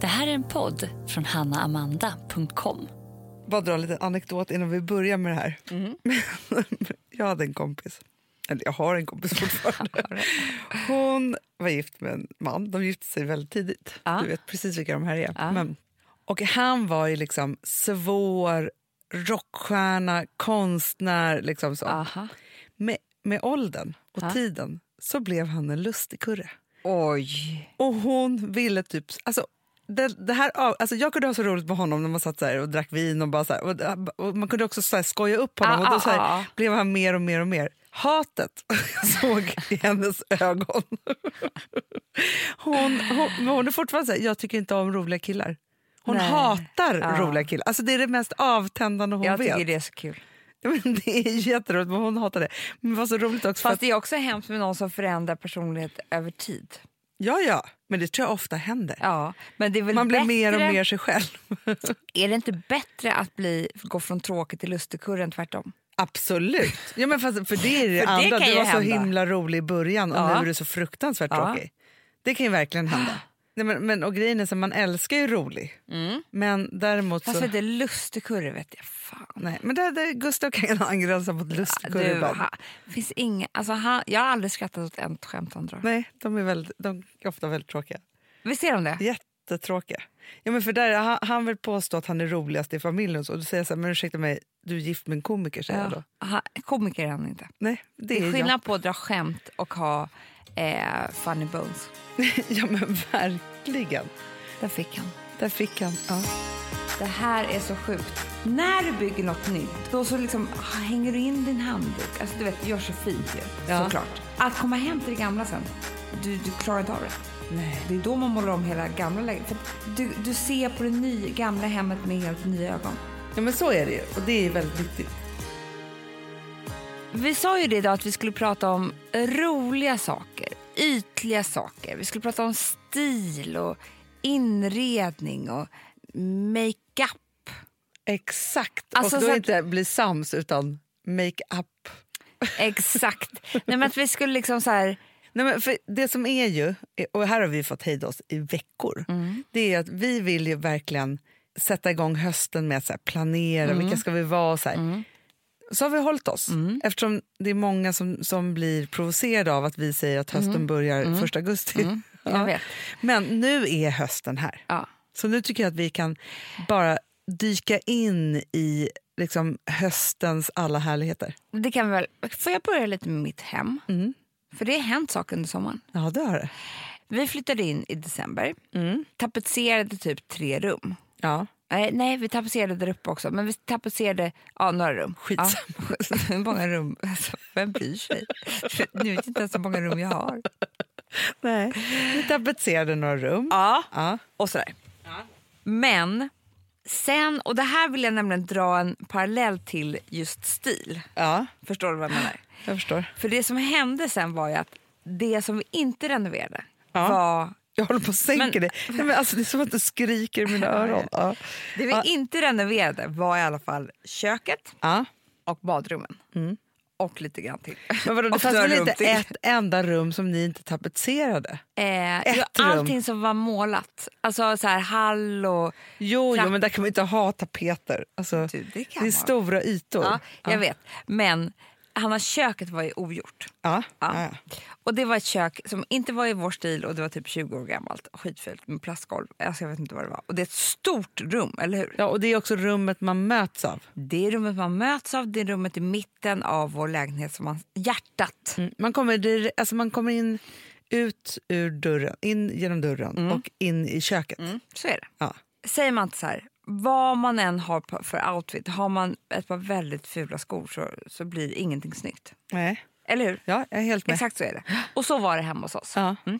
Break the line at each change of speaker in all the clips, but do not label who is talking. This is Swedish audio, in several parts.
Det här är en podd från hannaamanda.com.
Bara dra en liten anekdot innan vi börjar med det här.
Mhm.
jag hade en kompis, eller jag har en kompis fortfarande. Hon var gift med en man, de gifte sig väldigt tidigt.
Ja.
Du vet precis vilka de här är.
Ja.
Men, och han var ju liksom svår rockstjärna, konstnär, liksom så.
Aha.
Med, med åldern och
Ja.
tiden så blev han en lustigkurre.
Oj.
Och hon ville typ... Alltså, det, det här, av- alltså jag kunde ha så roligt med honom när man satt så här och drack vin. och bara så här, och, och Man kunde också så här skoja upp honom.
Ah,
och då
ah,
så här,
ah.
blev han mer och mer och mer. Hatet jag såg i hennes ögon. Hon, hon, men hon är fortfarande så här, jag tycker inte om roliga killar. Hon
Nej.
hatar
Ah.
roliga killar. Alltså det är det mest avtändande hon
Jag
vet.
tycker det är så kul.
Ja, men det är jätteroligt, men hon hatar det. Men det var så roligt också. För
Fast
att,
det är också hemskt med någon som förändrar personlighet över tid.
ja, ja, men det tror jag ofta händer.
Ja, men det är väl
Man blir
bättre,
mer och mer sig själv.
Är det inte bättre att bli, gå från tråkig till lustigkurre än tvärtom?
Absolut. Ja, men fast, för det är det
För det
andra.
kan
Du
ju
var så
hända.
himla rolig i början och
Ja.
nu är du så fruktansvärt
Ja.
tråkig. Det kan ju verkligen hända. Nej, men, men, och grejen är så, man älskar ju rolig. Men däremot så...
Fast Mm. det är lustigkurre vet jag fan.
Nej, men där, där Gustav kan angränsa mot lustigkurre
Du,
ibland.
ha, finns inga, alltså, han, jag har aldrig skrattat åt ett skämt han drar.
Nej, de är, väldigt, de är ofta väldigt tråkiga.
Visst är de det?
Jättetråkiga. Ja, men för där, han, han vill påstå att han är roligast i familjen. Och då säger jag så här, men ursäkta mig, du är gift med en komiker säger jag då.
Han, komiker är han inte.
Nej, det,
Det är
är
skillnad på att dra skämt och ha eh, funny bones.
jag. ja, men verkligen.
Där fick han.
Där fick han. Ja.
Det här är så sjukt. När du bygger något nytt, då så liksom ah, hänger du in din handduk. Alltså du vet, det gör sig fint ju,
Ja.
såklart. Att komma hem till det gamla sen, du, du klarar inte av det.
Nej.
Det är då man målar om hela gamla lägenheten. För Du, du ser på det ny, gamla hemmet med helt nya ögon.
Ja, men så är det ju. Och det är väldigt viktigt.
Vi sa ju det idag att vi skulle prata om roliga saker, ytliga saker. Vi skulle prata om stil och inredning och makeup.
Exakt.
Alltså,
och då
så att-
inte bli sams, utan make-up.
Exakt. Nej, men att vi skulle liksom så här...
Nej, men för det som är ju, och här har vi fått hejda oss i veckor, det är att vi vill ju verkligen sätta igång hösten med att så här, planera, vilka ska vi vara? Så, här. så har vi hållit oss, eftersom det är många som, som blir provocerade av att vi säger att hösten börjar 1 augusti.
jag vet.
Men nu är hösten här.
Ja.
Så nu tycker jag att vi kan bara dyka in i liksom, höstens alla härligheter.
Det kan vi väl. Får jag börja lite med mitt hem? För det har hänt saker under sommaren.
Ja, det har det.
Vi flyttade in i december. Tapetserade typ tre rum.
Ja.
Nej, nej, vi tapetserade där uppe också. Men vi tapetserade ja, några rum.
Skitsamma.
Ja, hur många rum? Alltså, vem bryr sig? Nu vet jag inte ens hur många rum jag har.
Nej. Vi tapetserade några rum.
Ja,
Ja.
och sådär. Men sen, och det här vill jag nämligen dra en parallell till just stil.
ja,
Förstår du vad jag menar?
jag förstår.
För det som hände sen var ju att det som vi inte renoverade
Ja.
var...
Jag håller på att sänka
Men-
dig. Nej, men alltså, det är som att du skriker i mina öron. Ja.
Det vi
Ja.
inte renoverade var i alla fall köket
Ja.
och badrummen. Och lite grann till.
Mm. Men vadå, det
Och
fanns
några
väl
rum
inte
till.
ett enda rum som ni inte tapetserade?
Eh,
ett
ja,
rum?
allting som var målat. Alltså så här hall och...
Jo, jo,
Trapp-
men där kan man inte ha tapeter. Alltså,
Du, det kan
det är
man.
stora ytor.
Ja, jag
Oh. Ja.
vet. Men Hanna, köket var ju ogjort.
Ja.
Ja.
Ja.
Och det var ett kök som inte var i vår stil och det var typ 20 år gammalt. Skitfult med plastgolv. Alltså, jag vet inte vad det var. Och det är ett stort rum, eller hur?
ja, och det är också rummet man möts av.
Det är rummet man möts av, det är rummet i mitten av vår lägenhet, som man, hjärtat.
Mm. Man, kommer dire- alltså man kommer in ut ur dörren, in genom dörren
Mm.
och in i köket.
Så är det.
Ja.
Säger man inte så här, vad man än har på- för outfit, har man ett par väldigt fula skor så, så blir ingenting snyggt.
Nej.
Eller hur?
Ja, jag är helt med.
Exakt så är det. Och så var det hemma hos oss.
Ja.
Mm.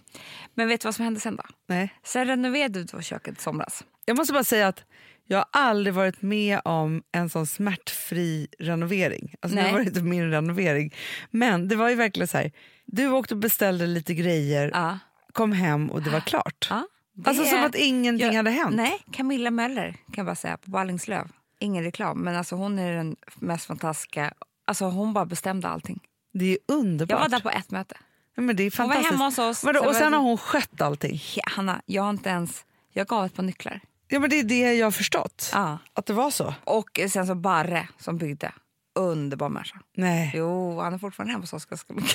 Men vet du vad som hände sen då?
Nej.
Sen renoverade du då köket i somras.
Jag måste bara säga att jag har aldrig varit med om en sån smärtfri renovering. Alltså nu
Nej.
var det inte min renovering. Men det var ju verkligen så här, du åkte och beställde lite grejer,
Ja.
kom hem och det var klart.
Ja, det
Alltså som
är-
att ingenting
Jag-
hade hänt.
Nej, Camilla Möller kan jag bara säga på Ballingslöv. Ingen reklam, men alltså hon är den mest fantastiska. Alltså hon bara bestämde allting.
Det är underbart.
Jag var där på ett möte.
Nej, men det är
Hon var
fantastiskt.
hemma hos oss.
Vadå? Och
var
sen
det-
har hon skött allting.
Ja, Hanna, jag har inte ens... Jag gav ett par nycklar.
Ja, men det är det jag har förstått.
Ja.
Att det var så.
Och sen så Barre som byggde. Underbar människa.
Nej.
Jo, han är fortfarande hemma hos Oskar Skog.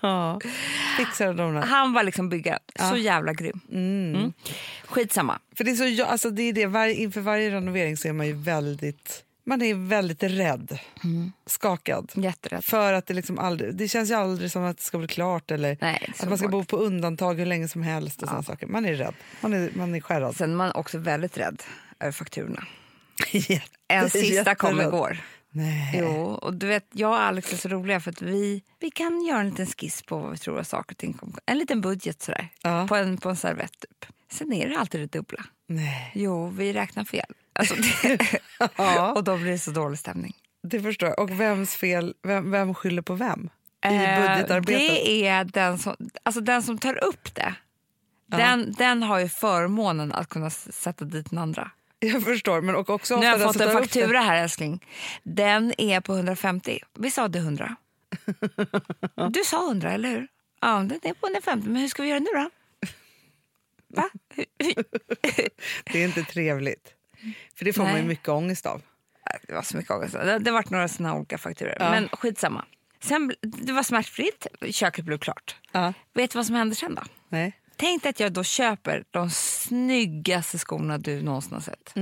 Ja. Fixar de det?
Han var liksom byggaren. Så jävla grym. Mm. Skitsamma.
För det är så, ja, alltså det är det, var, inför varje renovering så är man ju väldigt, man är väldigt rädd.
Mm.
Skakad.
Jätterätt.
För att det liksom aldrig, det känns ju aldrig som att det ska bli klart eller
Nej, det är
att
så
man ska
hårt.
bo på undantag hur länge som helst och såna saker. Man är rädd. Man är, man är skärrad.
Sen är man också väldigt rädd över fakturorna.
Jätte-
En sista kom
jätterädd.
igår.
Nej.
Jo, och du vet, jag och Alex är så roliga för att vi, vi kan göra en liten skiss på vad vi tror att saker och ting kommer En liten budget sådär,
Ja.
på, en, på en servett typ. Sen är det alltid det dubbla.
Nej.
Jo, vi räknar fel. Alltså, det,
Ja,
och då blir det så dålig stämning.
det förstår jag. Och vems fel, vem, vem skyller på vem? I
Eh,
budgetarbetet?
Det är den som, alltså den som tar upp det. Den, den har ju förmånen att kunna s- sätta dit den andra.
Jag förstår. Men och också
Nu
ofta
har
den
jag fått
som
en
tar upp det-
faktura här älskling. Den är på 150. Vi sa det 100. Du sa 100, eller hur? Ja, den är på 150. Men hur ska vi göra nu då? Va? Hur- hur-
Det är inte trevligt. För det får man ju
Nej.
mycket ångest av.
Äh, Det var så mycket ångest. Det, det vart några såna olika fakturor. Men skitsamma. Sen, bl- det var smärtfritt, köket blev klart.
Ja.
Vet du vad som hände sen då?
Nej.
Tänk dig att jag då köper de snyggaste skorna du någonsin har sett.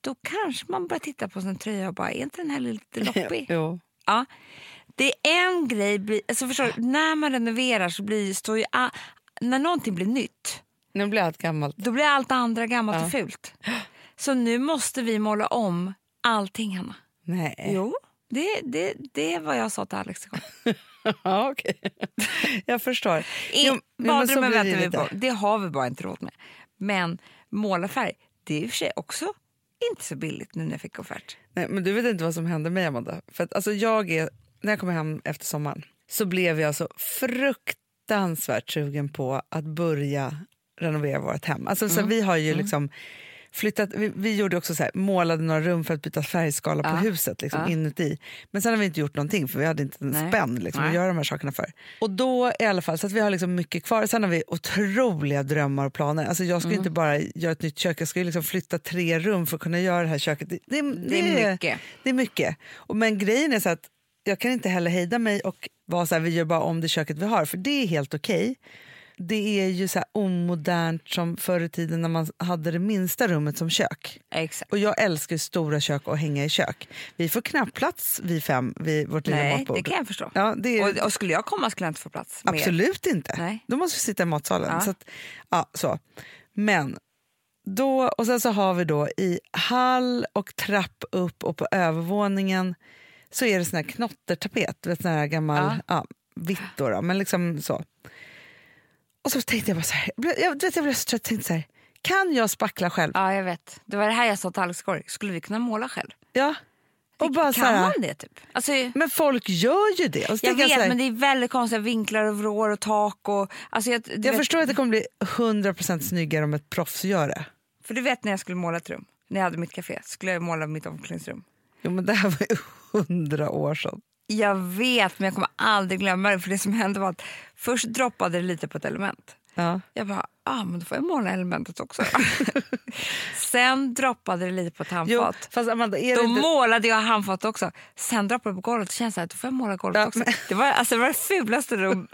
Då kanske man börjar titta på sin tröja och bara, är inte den här lite loppig?
Jo.
Ja. Det är en grej, bli- alltså förstår, du, när man renoverar så blir, står ju, a- när någonting blir nytt,
Nu blir allt gammalt.
då blir allt andra gammalt och fult. Så nu måste vi måla om allting Hanna.
Nej.
Jo, det, det, det är vad jag sa till Alex igår.
Ja, okej. Jag förstår.
I
Jo, men så
badrummen
blir det
väntar vi
lite.
på. Det har vi bara inte råd med. Men målarfärg, det är i och för sig också inte så billigt nu när jag fick offert.
Nej, men du vet inte vad som hände mig, Amanda. För att, alltså, jag är, när jag kom hem efter sommaren så blev jag så fruktansvärt sugen på att börja renovera vårt hem. Alltså,
Mm.
så vi har ju liksom flyttat, vi, vi gjorde också så här, målade några rum för att byta färgskala på huset liksom, inuti. Men sen har vi inte gjort någonting för vi hade inte en
Nej.
spänn liksom, att
Nej.
göra de här sakerna för. Och då i alla fall, så att vi har liksom mycket kvar. Sen har vi otroliga drömmar och planer. Alltså, jag ska ju
Mm.
inte bara göra ett nytt kök, jag ska ju liksom flytta tre rum för att kunna göra det här köket. Det, det,
Det är mycket.
det är mycket. Och, men grejen är så att jag kan inte heller hejda mig och vara så här, vi gör bara om det köket vi har, för det är helt okej. Det är ju så här omodernt som förr i tiden när man hade det minsta rummet som kök.
Exakt.
Och jag älskar ju stora kök och hänga i kök. Vi får knappt plats vi fem vid vårt lilla
Nej,
matbord.
det kan jag förstå.
Ja, det är,
Och, och skulle jag komma skulle jag inte få plats. med er.
Absolut inte.
Nej.
Då måste vi sitta i matsalen.
Ja.
Så att, ja, så. Men då, och sen så har vi då i hall och trapp upp och på övervåningen så är det sån här knottertapet, du vet sån här gammal, ja. vitt då, då, men liksom så. Och så tänkte jag bara så här, jag, blev- jag, du vet, jag blev så trött, jag tänkte så här, kan jag spackla själv?
Ja, jag vet. Det var det här jag sa till Alex igår. Skulle vi kunna måla själv?
Ja. Och bara så
kan
här,
man det typ? Alltså,
men folk gör ju det. Och så
jag
tänker
vet
så här,
men det är väldigt konstiga vinklar och vrår och tak. Och, alltså, jag, du
jag
vet,
förstår att det kommer bli 100% snyggare om ett proffs gör det.
För du vet när jag skulle måla ett rum, när jag hade mitt café, skulle jag måla mitt omklädningsrum.
Jo, men det här var ju hundra år sedan.
Jag vet, men jag kommer aldrig glömma det. För det som hände var att först droppade det lite på ett element.
Ja.
Jag bara, ah, men då får jag måla elementet också. Sen droppade det lite på ett
Jo,
handfat.
fast Amanda, är det
Då
inte...
målade jag handfat också. Sen droppade det på golvet och kände så här, då får jag måla golvet
Ja,
också.
men-
Det, var, alltså, det var det fulaste rum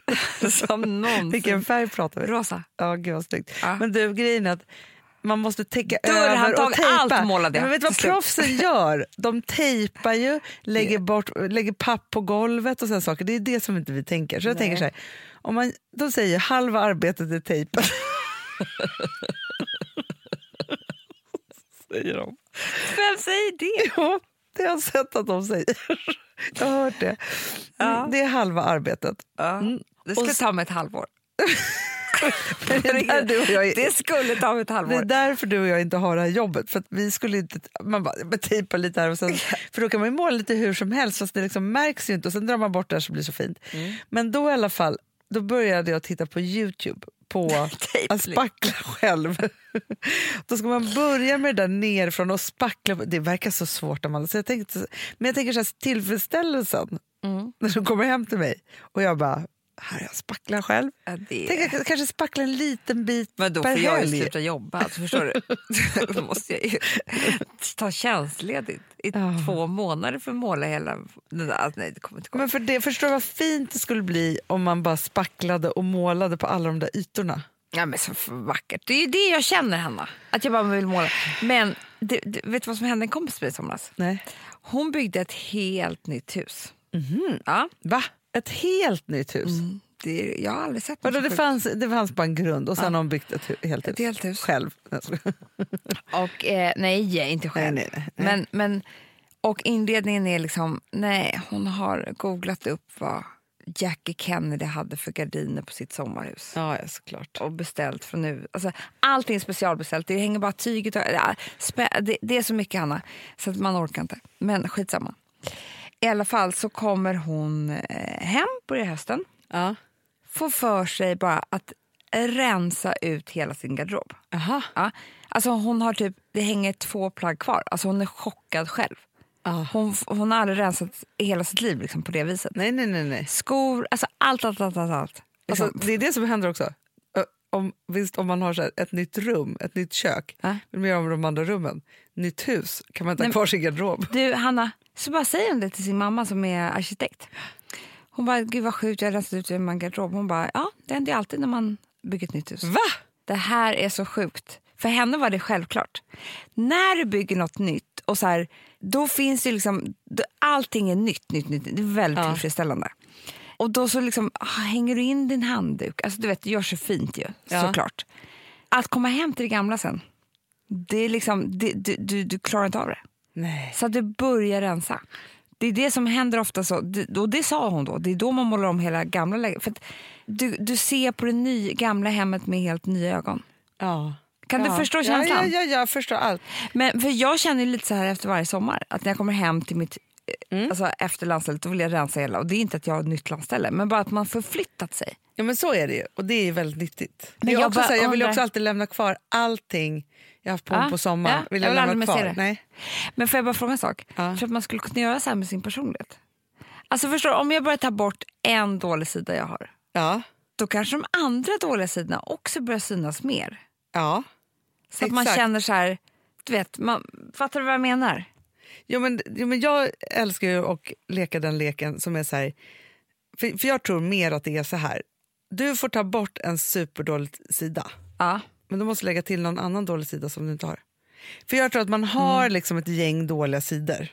som någonsin.
Vilken färg pratar vi?
Rosa.
Ja, gud vad snyggt.
Ja.
Men du, grejen är att man måste täcka över
Dörrhandtag,
och tejpa.
allt målade jag
Men vet du vad
till slut.
proffsen gör? De tejpar ju, lägger, bort, lägger papp på golvet och sådana saker. Det är det som inte vi tänker. Så jag tänker så här, om man, de säger halva arbetet är tejpat. säger de.
Vem säger det?
Ja, det har jag sett att de säger. Jag har hört det. Mm, Det är halva arbetet. Mm.
Det skulle
Och s-
ta mig ett halvår.
Det är, där du och jag är,
Det skulle ta mig ett
det är
halvår.
därför du och jag inte har det här jobbet. För att vi skulle inte, man bara men tejpa lite här och sen, för då kan man ju måla lite hur som helst fast det liksom märks ju inte och sen drar man bort det här så blir det så fint.
Mm.
Men då i alla fall, då började jag titta på Youtube på
Tejpling.
att spackla själv. då ska man börja med det där nerifrån och spackla. Det verkar så svårt, Amanda. Så jag
Mm.
tänkte, men jag tänker så här, tillfredsställelsen när de kommer hem till mig och jag bara, här har jag spacklar själv.
Ja, det...
Tänk att jag kanske spackla en liten bit
Men då
per
får jag ju
helg.
sluta jobba. Alltså, förstår du? då måste jag ju ta tjänstledigt i två månader för att måla hela... Den där. Alltså, nej, det kommer inte gå.
Men för det, förstår du vad fint det skulle bli om man bara spacklade och målade på alla de där ytorna?
Ja, men så för vackert. Det är ju det jag känner, Hanna. Att jag bara vill måla. Men det, det, vet du vad som hände en kompis med i somras?
Nej.
Hon byggde ett helt nytt hus. Ja,
Va? Ett helt nytt hus?
det, jag har aldrig sett något
Vadå,
så
det,
sjukt.
fanns, det fanns bara en grund och sen har hon byggt ett hu- helt hus?
Ett helt hus.
Själv. Jag skojar.
Och, eh, nej, inte själv.
Nej, nej,
Men, men, och inredningen är liksom... Nej, hon har googlat upp vad Jackie Kennedy hade för gardiner på sitt sommarhus.
Ja, ja, såklart.
Och beställt från nu. Alltså, allting är specialbeställt. Det hänger bara tyget och, ja, spä, det, det är så mycket, Hanna, så att man orkar inte. Men skitsamma. I alla fall så kommer hon eh, hem på det hösten.
Ja.
Får för sig bara att rensa ut hela sin garderob.
Aha.
Ja. Alltså hon har typ, det hänger två plagg kvar. Alltså hon är chockad själv.
Ja.
Hon, hon har aldrig rensat i hela sitt liv liksom, på det viset.
Nej, nej, nej. nej.
Skor, alltså allt, allt, allt. allt, allt. Liksom.
Alltså, det är det som händer också. Ö, Om, visst, om man har så här ett nytt rum, ett nytt kök,
Ja.
vill man göra om de andra rummen. Nytt hus, kan man inte ha
Nej,
kvar sin garderob?
Du, Hanna, så bara säger hon det till sin mamma som är arkitekt. Hon bara, gud vad sjukt, jag har rensat ut i min garderob. Hon bara, ja, det händer ju alltid när man bygger ett nytt hus.
Va?
Det här är så sjukt. För henne var det självklart. När du bygger något nytt, och så här, då finns det liksom... då- Allting är nytt, nytt, nytt. Det är väldigt tillfredsställande. Och då så liksom, ah, hänger du in din handduk. Alltså du vet, det gör så fint ju,
Ja.
såklart. Att komma hem till det gamla sen, det är liksom, det, du, du, du klarar inte av det.
Nej.
Så att du börjar rensa. Det är det som händer ofta. så. Det- Och det sa hon då. Det är då man målar om hela gamla läget. För att du, du ser på det ny, gamla hemmet med helt nya ögon.
Ja.
Kan du
Ja.
förstå
Ja,
känslan?
Ja, ja, ja, jag förstår allt.
Men, för jag känner ju lite så här efter varje sommar. Att när jag kommer hem till mitt eh,
Mm.
alltså, efter landstället, då vill jag rensa hela. Och det är inte att jag har ett nytt landställe, men bara att man förflyttat sig.
Ja, men så är det ju. Och det är ju väldigt nyttigt.
Men
Men jag,
jag
också
bara
så här, jag vill ju
undrar-
också alltid lämna kvar allting jag har haft på
Ja,
mig på sommaren.
ja,
Vill
jag
jag,
vill aldrig
lämna
mer
kvar?
se det.
Nej.
Men får jag bara fråga en sak?
Ja.
För att man skulle kunna göra så här med sin personlighet. Alltså förstår du, om jag börjar ta bort en dålig sida jag har,
Ja.
då kanske de andra dåliga sidorna också börjar synas mer.
Ja.
Så att man
Exakt.
känner så här, du vet, man, fattar du vad jag menar?
Jo, men, jo, men jag älskar ju att leka den leken som är så här... För, för jag tror mer att det är så här. Du får ta bort en superdålig sida.
Ja.
Men du måste lägga till någon annan dålig sida som du inte har. För jag tror att man har
Mm.
liksom ett gäng dåliga sidor.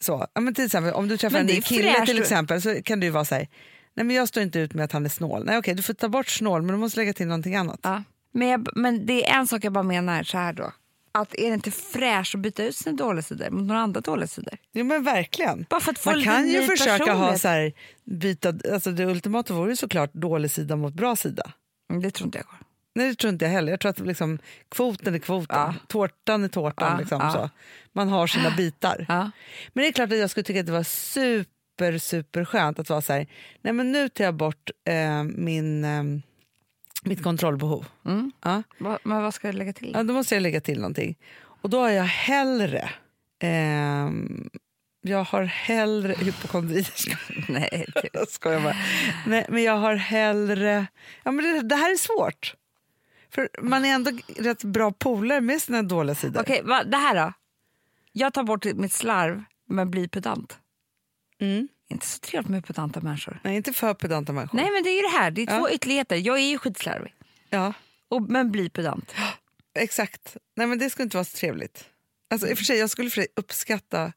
Så, ja, men till exempel, om du träffar
Men
en
det
ny
är
kille
fräscht.
till exempel så kan du ju vara så här. Nej men jag står inte ut med att han är snål. Nej okej, du får ta bort snål men du måste lägga till någonting annat.
ja. Men, jag, men det är en sak jag bara menar så här då. Att är det inte fräscht att byta ut sina dåliga sidor mot några andra dåliga sidor?
Jo men verkligen.
Bara för att få
Man
lite
kan ju
ny
försöka ha
personlighet.
så här, byta, alltså det ultimata vore ju såklart dålig sida mot bra sida.
Mm, Det tror inte jag går.
Nej det tror inte jag heller. Jag tror att liksom, kvoten är kvoten, tårtan är tårtan.
Ja,
liksom,
ja.
så. Man har sina bitar.
Ja.
Men det är klart att jag skulle tycka att det var super, super skönt att vara så här, nej men nu tar jag bort eh, min, eh, mitt kontrollbehov. Ja.
Va, men vad ska jag lägga till?
Ja, då måste jag lägga till någonting. Och då har jag hellre, ehm, jag har hellre hypokondri.
Nej, det-
Jag skojar bara. Nej, men jag har hellre... Ja, men det, det här är svårt. För Man är ändå rätt bra polare med sina dåliga sidor.
Okej, va, det här då? Jag tar bort mitt slarv, men blir pedant.
Mm.
Inte så trevligt med pedanta människor.
Nej, inte för pedanta människor.
Nej, men det är ju det här. Det är två ytterligheter. Jag är ju skitslarvig,
Ja,
och, men blir pedant.
exakt. Nej, men Det skulle inte vara så trevligt. Alltså, i och för sig, jag skulle för sig uppskatta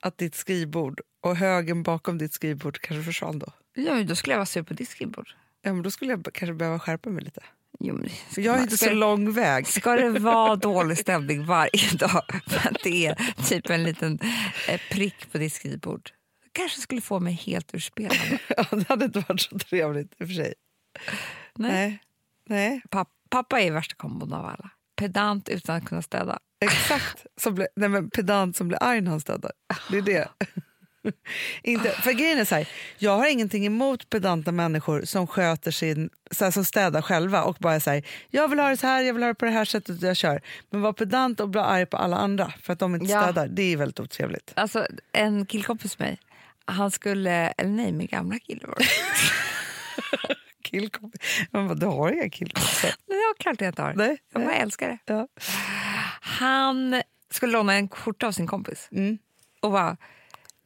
att ditt skrivbord och högen bakom ditt skrivbord kanske försvann då.
Ja, men då skulle jag vara sur på ditt skrivbord.
Ja, men då skulle jag b- kanske behöva skärpa mig lite.
Jo, men, ska,
För jag är
man-
inte
ska,
så
det-
lång väg.
ska det vara dålig stämning varje dag för att det är typ en liten eh, prick på ditt skrivbord? kanske skulle få mig helt ur spel. Anna.
Ja, det hade inte varit så trevligt i och för sig.
Nej.
Nej. Nej.
Pappa, pappa är värsta kombon av alla. Pedant utan att kunna städa.
Exakt. Som blir, nej men pedant som blir arg när han städar. Det är det. Inte, för grejen är så här, jag har ingenting emot pedanta människor som sköter sin, så här, som städar själva och bara är så här, jag vill ha det så här, jag vill ha det på det här sättet jag kör. Men var pedant och bli arg på alla andra för att de inte
Ja.
städar, det är väldigt otrevligt.
Alltså, en killkompis med mig, han skulle... Eller nej, min gamla kille var det.
killkompis. Man bara, du har inga killkompisar.
Nej, jag klart jag inte har.
Nej,
jag bara
nej.
älskar det.
Ja.
Han skulle låna en skjorta av sin kompis
Mm.
och bara,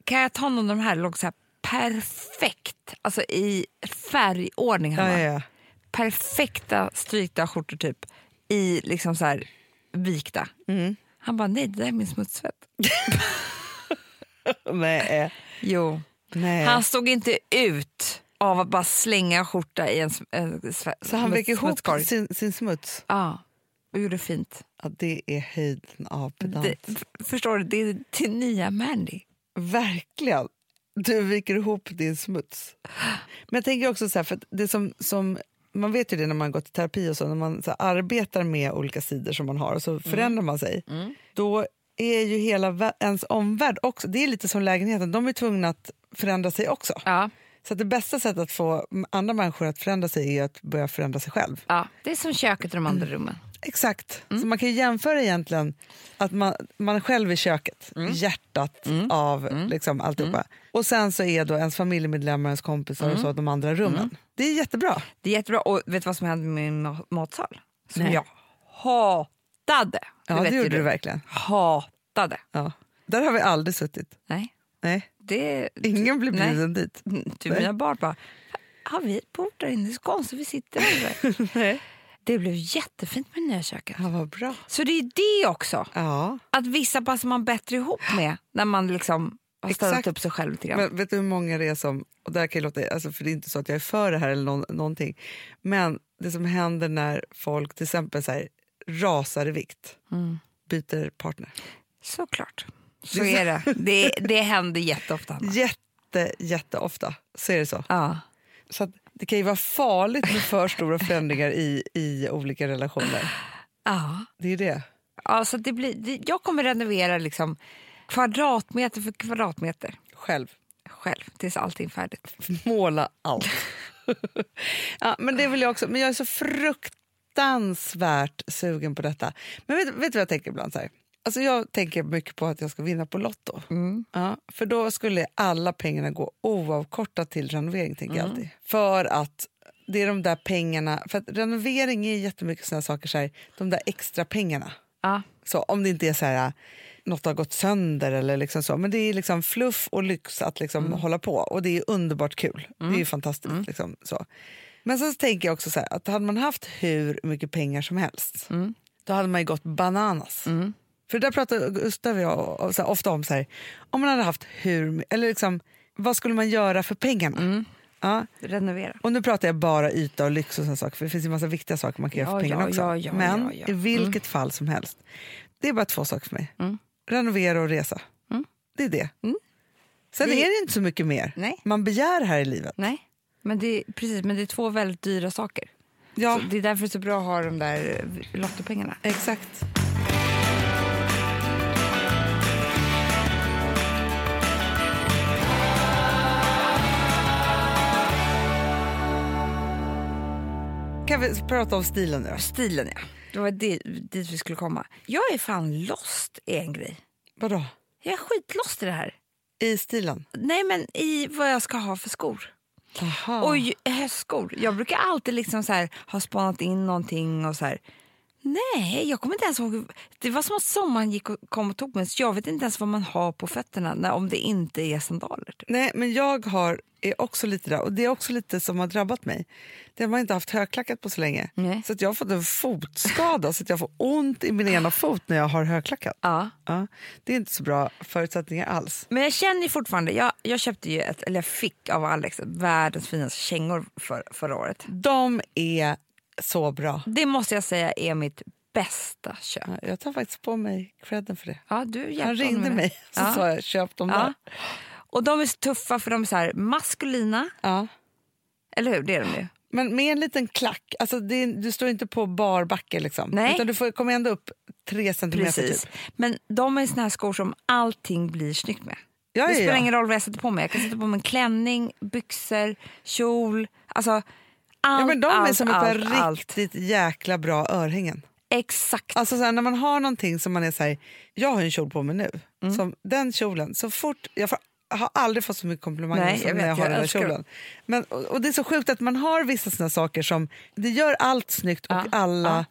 kan jag ta någon av de här? Låg så här perfekt, alltså i färgordning. Han
Ja,
bara,
ja, ja.
perfekta strykta skjortor typ i liksom så här vikta.
Mm.
Han bara, nej det där är min smutsvett.
Nej.
Jo.
Nej.
Han stod inte ut av att bara slänga en skjorta i en, sm- en
så han väcker ihop sin, sin smuts.
Ja, och gjorde fint.
Ja, det är höjden av pedant.
Det, f- förstår du, det är till nya Mandy.
Verkligen. Du viker ihop din smuts. Men jag tänker också så här, för att det som, som, man vet ju det när man går till terapi och så, när man så här, arbetar med olika sidor som man har och så förändrar man sig. Då är ju hela vä- ens omvärld också, det är lite som lägenheten, de är tvungna att förändra sig också.
Ja,
Så att det bästa sättet att få andra människor att förändra sig är att börja förändra sig själv.
ja, det är som köket i de andra rummen.
Exakt. Så man kan ju jämföra egentligen att man, man själv är köket, hjärtat av liksom alltihopa. Och sen så är då ens familjemedlemmar, ens kompisar och så de andra rummen. Det är jättebra.
Det är jättebra. Och vet du vad som hände med min ma- matsal? Som
Nej.
jag hatade.
Ja, det,
vet ju
gjorde du verkligen.
Hatade.
Ja. Där har vi aldrig suttit.
Nej,
Nej,
det...
ingen blir
Nej.
bjuden dit.
Du mina barn bara, har vi ett bord där inne? Det är så konstigt, vi sitter här.
Nej.
Det blev jättefint med det nya köket.
Ja, vad bra.
Så det är det också,
Ja.
att vissa passar man bättre ihop med när man liksom har
Exakt.
ställt upp sig själv lite grann.
Men vet du hur många det är som, och där kan jag låta, alltså för det är inte så att jag är för det här eller någon, någonting, men det som händer när folk till exempel så här, rasar i vikt, byter partner.
Såklart. Så är det. Det, det händer jätteofta. Hanna.
Jätte, jätteofta så är det så.
Ja.
Så att det kan ju vara farligt med för stora förändringar i, i olika relationer.
Ja.
Det är det.
Ja, så det blir, det, jag kommer renovera liksom kvadratmeter för kvadratmeter
Själv.
själv tills allting är färdigt.
Måla allt. ja, men det vill jag också. Men jag är så fruktansvärt sugen på detta. Men vet, vet du vad jag tänker ibland? Så här? Alltså jag tänker mycket på att jag ska vinna på Lotto. Ja, för då skulle alla pengarna gå oavkortat till renovering, tänker jag alltid. För att det är de där pengarna... För att renovering är jättemycket sådana saker, så här, de där extra pengarna.
Ja.
Så, om det inte är så här, äh, något har gått sönder eller liksom så. Men det är liksom fluff och lyx att liksom hålla på och det är underbart kul. Det är ju fantastiskt. Liksom, så. Men sen så tänker jag också så här, att hade man haft hur mycket pengar som helst, då hade man ju gått bananas. För där pratar Gustav och jag o- o- så här, ofta om så här, om man hade haft hur, my- eller liksom, vad skulle man göra för pengarna? Ja,
Renovera.
och nu pratar jag bara yta och lyx och sådana saker, för det finns ju massa viktiga saker man kan göra
Ja,
för pengarna
ja,
också.
ja, ja,
Men
ja, ja. Mm.
i vilket fall som helst. Det är bara två saker för mig. Renovera och resa.
Mm.
Det är det. Sen är det inte så mycket mer
Nej.
man begär här i livet.
Nej, men det, precis, men det är två väldigt dyra saker.
Ja,
Så det är därför det är så bra att ha de där eh, lottopengarna.
exakt. Kan vi prata om stilen nu då?
Stilen, ja. Det var det, dit vi skulle komma. Jag är fan lost i en grej.
Vadå?
Jag är skitlost i det här.
I stilen?
Nej, men i vad jag ska ha för skor.
Aha.
Och ju- höstskor. Jag brukar alltid liksom så här, ha spanat in någonting och så här. Nej, jag kommer inte ens ihåg. Det var som att sommaren gick och kom och tog mig. Så jag vet inte ens vad man har på fötterna när, om det inte är sandaler. typ.
Nej, men jag har, är också lite där. Och det är också lite som har drabbat mig. Det har man inte haft högklackat på så länge.
Nej.
Så att jag har fått en fotskada, så att jag får ont i min ena fot när jag har högklackat.
Ja.
Ja, det är inte så bra förutsättningar alls.
Men jag känner ju fortfarande, jag, jag köpte ju ett, eller jag fick av Alex ett världens finaste kängor för, förra året.
De är så bra.
Det måste jag säga är mitt bästa köp.
Ja, Jag tar faktiskt på mig credden för det.
Ja, du hjälpte
Han
honom
ringde
med det.
mig så
ja.
sa jag köp dem där.
Ja. Och de är så tuffa för de är så här maskulina,
Ja.
eller hur? Det är de ju.
Men med en liten klack, alltså det är, du står inte på bar backe liksom.
Nej.
Utan du får, kommer ändå upp tre centimeter
Precis.
typ.
Men de är såna här skor som allting blir snyggt med.
Ja,
det
ja,
spelar
ja.
ingen roll vad jag sätter på mig. Jag kan sätta på mig en klänning, byxor, kjol. Alltså, allt,
Ja, men de
allt,
är som ett par
allt, allt.
riktigt jäkla bra örhängen.
Exakt.
Alltså så här, när man
Mm.
har någonting som man är så här, jag har en kjol på mig nu, som den kjolen, så fort, jag får har aldrig fått så mycket komplimanger
Nej,
som
jag
när
vet,
jag har
jag
den här
älskar
kjolen. Men, och, och det är så sjukt att man har vissa såna saker som, det gör allt snyggt och
Ja,
alla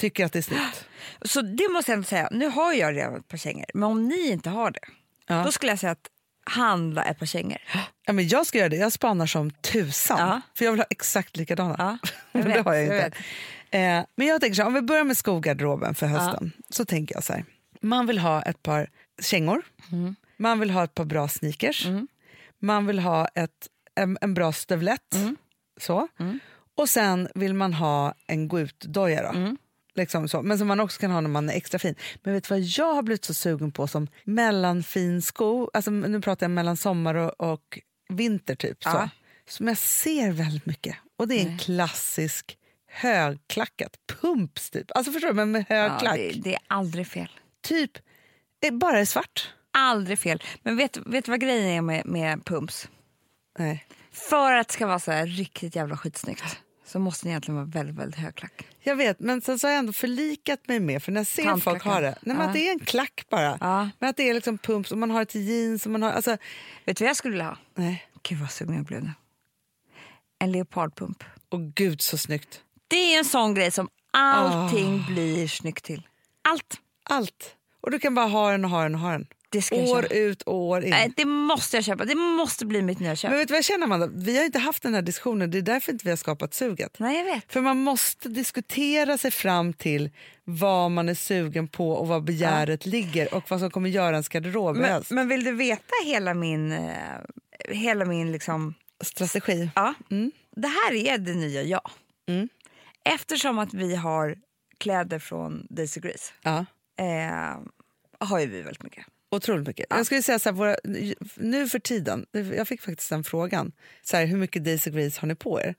tycker att det är snyggt.
Så det måste jag ändå säga, nu har jag redan ett par kängor, men om ni inte har det, då skulle jag säga att handla ett par kängor. Eh,
Ja, men jag ska göra det, jag spanar som tusan.
Ja.
För jag vill ha exakt likadana.
Ja, jag
Men det
vet,
har jag
jag
inte. eh, men jag tänker så här, om vi börjar med skogarderoben för hösten. Så tänker jag så här, man vill ha ett par kängor.
Mm.
Man vill ha ett par bra sneakers. Man vill ha ett, en, en bra stövlett.
Mm.
Så. Och sen vill man ha en gå ut-doja då.
Mm.
Liksom så. Men som man också kan ha när man är extra fin. Men vet du vad jag har blivit så sugen på som mellanfin sko? Alltså, nu pratar jag mellan sommar och, och vinter typ. Så.
Ja.
Som jag ser väldigt mycket. Och det är en klassisk högklackat. Pumps typ. Alltså förstår du? Men med hög
Ja,
klack.
det, det är aldrig fel.
Typ eh, bara i svart.
Aldrig fel. Men vet, vet du vad grejen är med, med pumps?
Nej.
För att det ska vara så här riktigt jävla skitsnyggt så måste ni egentligen vara väldigt, väldigt högklack.
Jag vet, men sen så har jag ändå förlikat mig med, för när jag ser
Tandklacken.
folk ha det, nej, men
Ja.
att det är en klack bara.
Ja.
Men att det är liksom pumps och man har ett jeans och man har, alltså,
Vet du vad jag skulle vilja ha?
nej.
Gud vad sugen jag blev nu. En leopardpump.
Och gud så snyggt.
Det är en sån grej som allting blir snyggt till. Allt.
Allt. Och du kan bara ha den och ha den och ha den.
Det ska jag
År
köpa.
ut och år in.
Nej, det måste jag köpa. Det måste bli mitt nya köp.
Men vet du vad jag känner Amanda? Vi har inte haft den här diskussionen, det är därför inte vi har skapat suget.
Nej, jag vet.
För man måste diskutera sig fram till vad man är sugen på och vad begäret ligger och vad som kommer göra ens garderob Alltså,
Men,
bäst.
men vill du veta hela min... eh, hela min liksom...
Strategi.
Ja. Det här är det nya jag. Mm. Eftersom att vi har kläder från Daisy Grease
Ja.
eh, har ju vi väldigt mycket.
Otroligt mycket. Jag skulle säga så här, våra, nu för tiden, jag fick faktiskt den frågan, så här, hur mycket Daisy Grace har ni på er?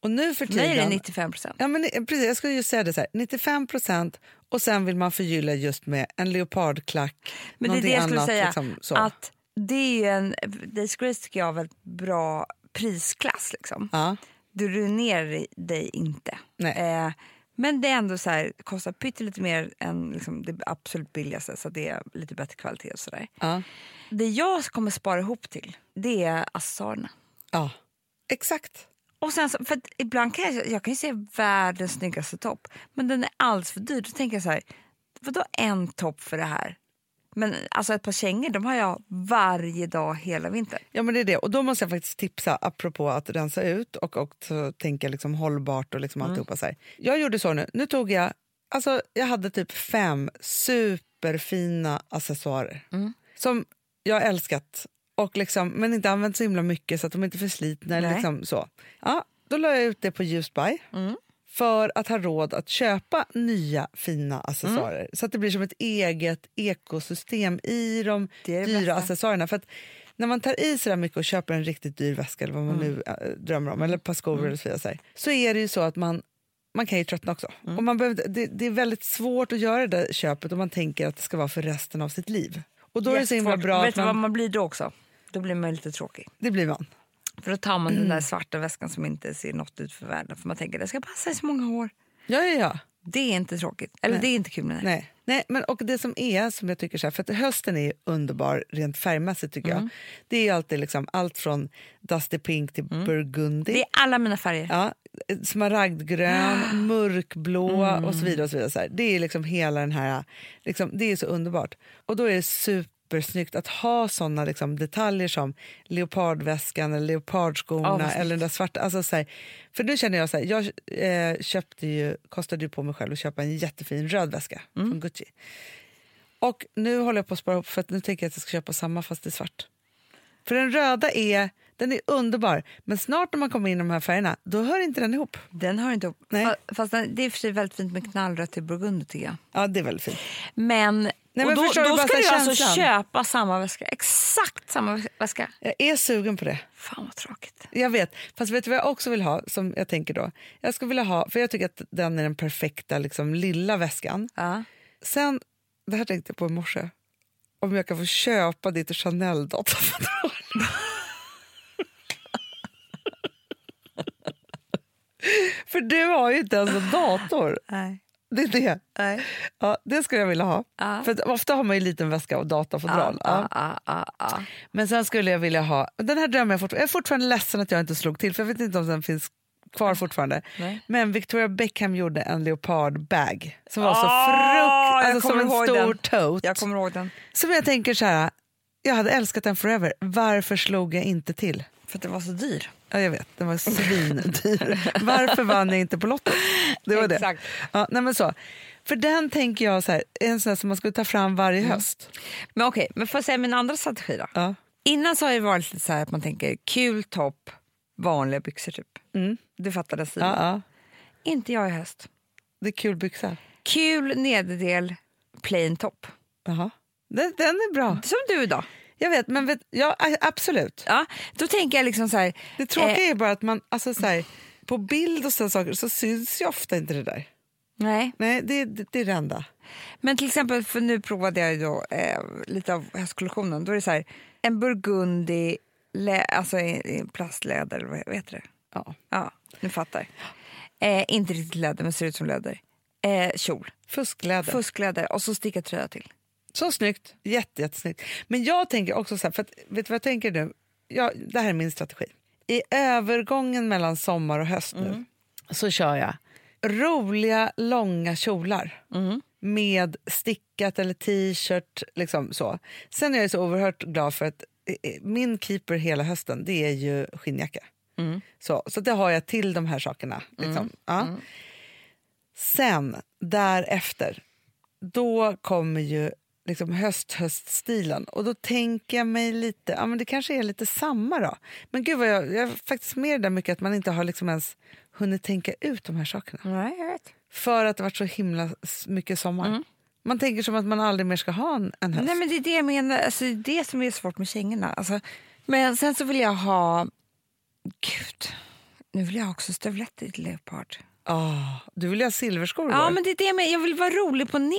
Och nu för
För mig är det
tiden,
95 procent.
ja, men, eh, precis, jag skulle ju säga det så här, 95 procent och sen vill man förgylla just med en leopardklack,
Men det är det
någonting
jag skulle
annat,
säga.
liksom, så.
att det är ju en, Daisy Grace tycker jag har väldigt bra prisklass. Liksom.
ja.
Du ruinerar dig inte.
Nej.
Eh, men det är ändå så här, kostar pyttelite mer än liksom, det absolut billigaste så det är lite bättre kvalitet. Och så där.
Ja.
Det jag kommer spara ihop till det är accessoarerna.
ja, exakt.
Och sen så, för att ibland kan jag, jag kan ju se världens snyggaste topp, men den är alldeles för dyr. Då tänker jag så här, vadå en topp för det här? Men alltså ett par kängor, de har jag varje dag hela vintern.
Ja, men det är det. Och då måste jag faktiskt tipsa, apropå att rensa ut och, och så tänka liksom hållbart och liksom alltihopa. Så här. Jag gjorde så nu. Nu tog jag, alltså jag hade typ fem superfina accessoarer som jag älskat, och liksom, men inte använt så himla mycket så att de inte är förslitna. Eller
Nej.
liksom så. Ja, då la jag ut det på Just Buy. för att ha råd att köpa nya fina accessoarer.
Mm.
Så att det blir som ett eget ekosystem i de
Det är det
dyra
bästa.
accessoarerna. För att när man tar i så där mycket och köper en riktigt dyr väska eller vad man
Mm.
nu eh, drömmer om, eller ett par skor eller så, vidare, så, här, så är det ju så att man, man kan ju tröttna också.
Mm.
Och man behöver, inte- det, det är väldigt svårt att göra det där köpet om man tänker att det ska vara för resten av sitt liv. Och då är det så himla
Jättesvårt.
bra
Vet
att
du vad
man,
man blir då också? Då blir man ju lite tråkig.
det blir man.
För då tar man den där svarta väskan som inte ser något ut för världen. För man tänker, det ska passa i så många år.
Ja, ja, ja.
Det är inte tråkigt. Eller det är inte kul. Nej.
Nej. Nej, men och det som är, som jag tycker så här, för att hösten är ju underbar rent färgmässigt tycker jag. Det är ju alltid liksom allt från dusty pink till burgundy.
Det är alla mina färger.
Ja, smaragdgrön, mörkblå
Mm.
och så vidare. Och så vidare så här. Det är liksom hela den här, liksom, det är så underbart. Och då är det supersnyggt att ha såna liksom, detaljer som leopardväskan eller leopardskorna
Ja, vad snyggt.
eller den där svarta. Alltså, så här, för nu känner jag så här, jag eh, köpte ju, kostade ju på mig själv att köpa en jättefin röd väska
Mm.
från Gucci. Och nu håller jag på att spara ihop för att nu tänker jag att jag ska köpa samma fast i svart. För den röda är, den är underbar, men snart när man kommer in i de här färgerna, då hör inte den ihop.
Den hör inte ihop.
Nej.
Fa- Fast den, det är i och för sig väldigt fint med knallrött till burgunder tycker jag.
Ja, det är väldigt fint.
Men,
men
och då,
förstår du
då
bara
ska
så
du
här
alltså
känslan?
köpa samma väska. Exakt samma väs- väska.
Jag är sugen på det.
Fan vad tråkigt.
Jag vet. Fast vet du vad jag också vill ha, som jag tänker då? Jag skulle vilja ha, för jag tycker att den är den perfekta liksom, lilla väskan.
Ja.
Sen, det här tänkte jag på i morse, om jag kan få köpa ditt Chanel-datafodral. för du har ju inte ens en dator.
Nej.
Det är det.
Nej.
Ja, det skulle jag vilja ha.
Ja.
För att ofta har man ju en liten väska och datafodral. Ja.
Ja, ja, ja, ja.
Men sen skulle jag vilja ha... Den här drömmen jag fortfarande... Jag är fortfarande ledsen att jag inte slog till, för jag vet inte om den finns kvar fortfarande.
Mm. Nej.
Men Victoria Beckham gjorde en leopardbag som var så
Ah, jag
frukt... Alltså som
kommer
en
ihåg
stor
den.
tote.
Jag kommer ihåg den.
Som jag tänker så här, jag hade älskat den forever. Varför slog jag inte till?
För att den var så dyr.
Ja, jag vet, den var svindyr. Varför vann jag inte på Lotto? Det var
Exakt.
det. Ja, nej men så. För den tänker jag så här, är en sån här som man skulle ta fram varje höst.
Men okej, men får jag säga min andra strategi då?
Ja.
Innan så har det varit lite så här att man tänker kul topp, vanliga byxor typ. Du fattar den stilen.
Ja, ja.
Inte jag i höst.
Det är kul byxa.
Kul nederdel, plain topp.
Jaha. Den, den är bra.
Som du idag.
Jag vet, men vet, ja, a- absolut.
Ja, då tänker jag liksom så här...
Det tråkiga är bara att man, alltså så här, på bild och sådana saker så syns ju ofta inte det där.
nej.
Nej, det, det, det är det enda.
Men till exempel, för nu provade jag ju då eh, lite av höstkollektionen. Då är det så här, en burgundy, lä- alltså i, i plastläder, eller vad heter det?
Ja.
Ja, nu fattar. Eh, inte riktigt läder, men ser ut som läder. Eh, kjol,
Fuskläder.
fuskläder och så sticka tröja till.
Så snyggt. Jätte, jättesnyggt. Men jag tänker också så här, för att, vet du vad jag tänker nu? Jag, det här är min strategi. I övergången mellan sommar och höst nu så kör jag roliga långa kjolar med stickat eller t-shirt. Liksom så. Sen är jag så oerhört glad för att eh, eh, min keeper hela hösten det är ju skinnjacka. Så, så det har jag till de här sakerna. Liksom. Ja. Sen därefter, då kommer ju liksom höst-höststilen. Och då tänker jag mig lite, ja men det kanske är lite samma då. Men gud vad jag, jag är faktiskt med i det där mycket att man inte har liksom ens hunnit tänka ut de här sakerna.
Nej, jag vet.
För att det varit så himla s- mycket sommar.
Mm.
Man tänker som att man aldrig mer ska ha en, en höst.
Nej, men det är det jag menar. Alltså, det är det som är svårt med kängorna. Alltså, men sen så vill jag ha... Gud, nu vill jag också stövlett i leopard.
Ah, du vill ju ha silverskor
Ja,
igår.
men det är det med. Jag vill vara rolig på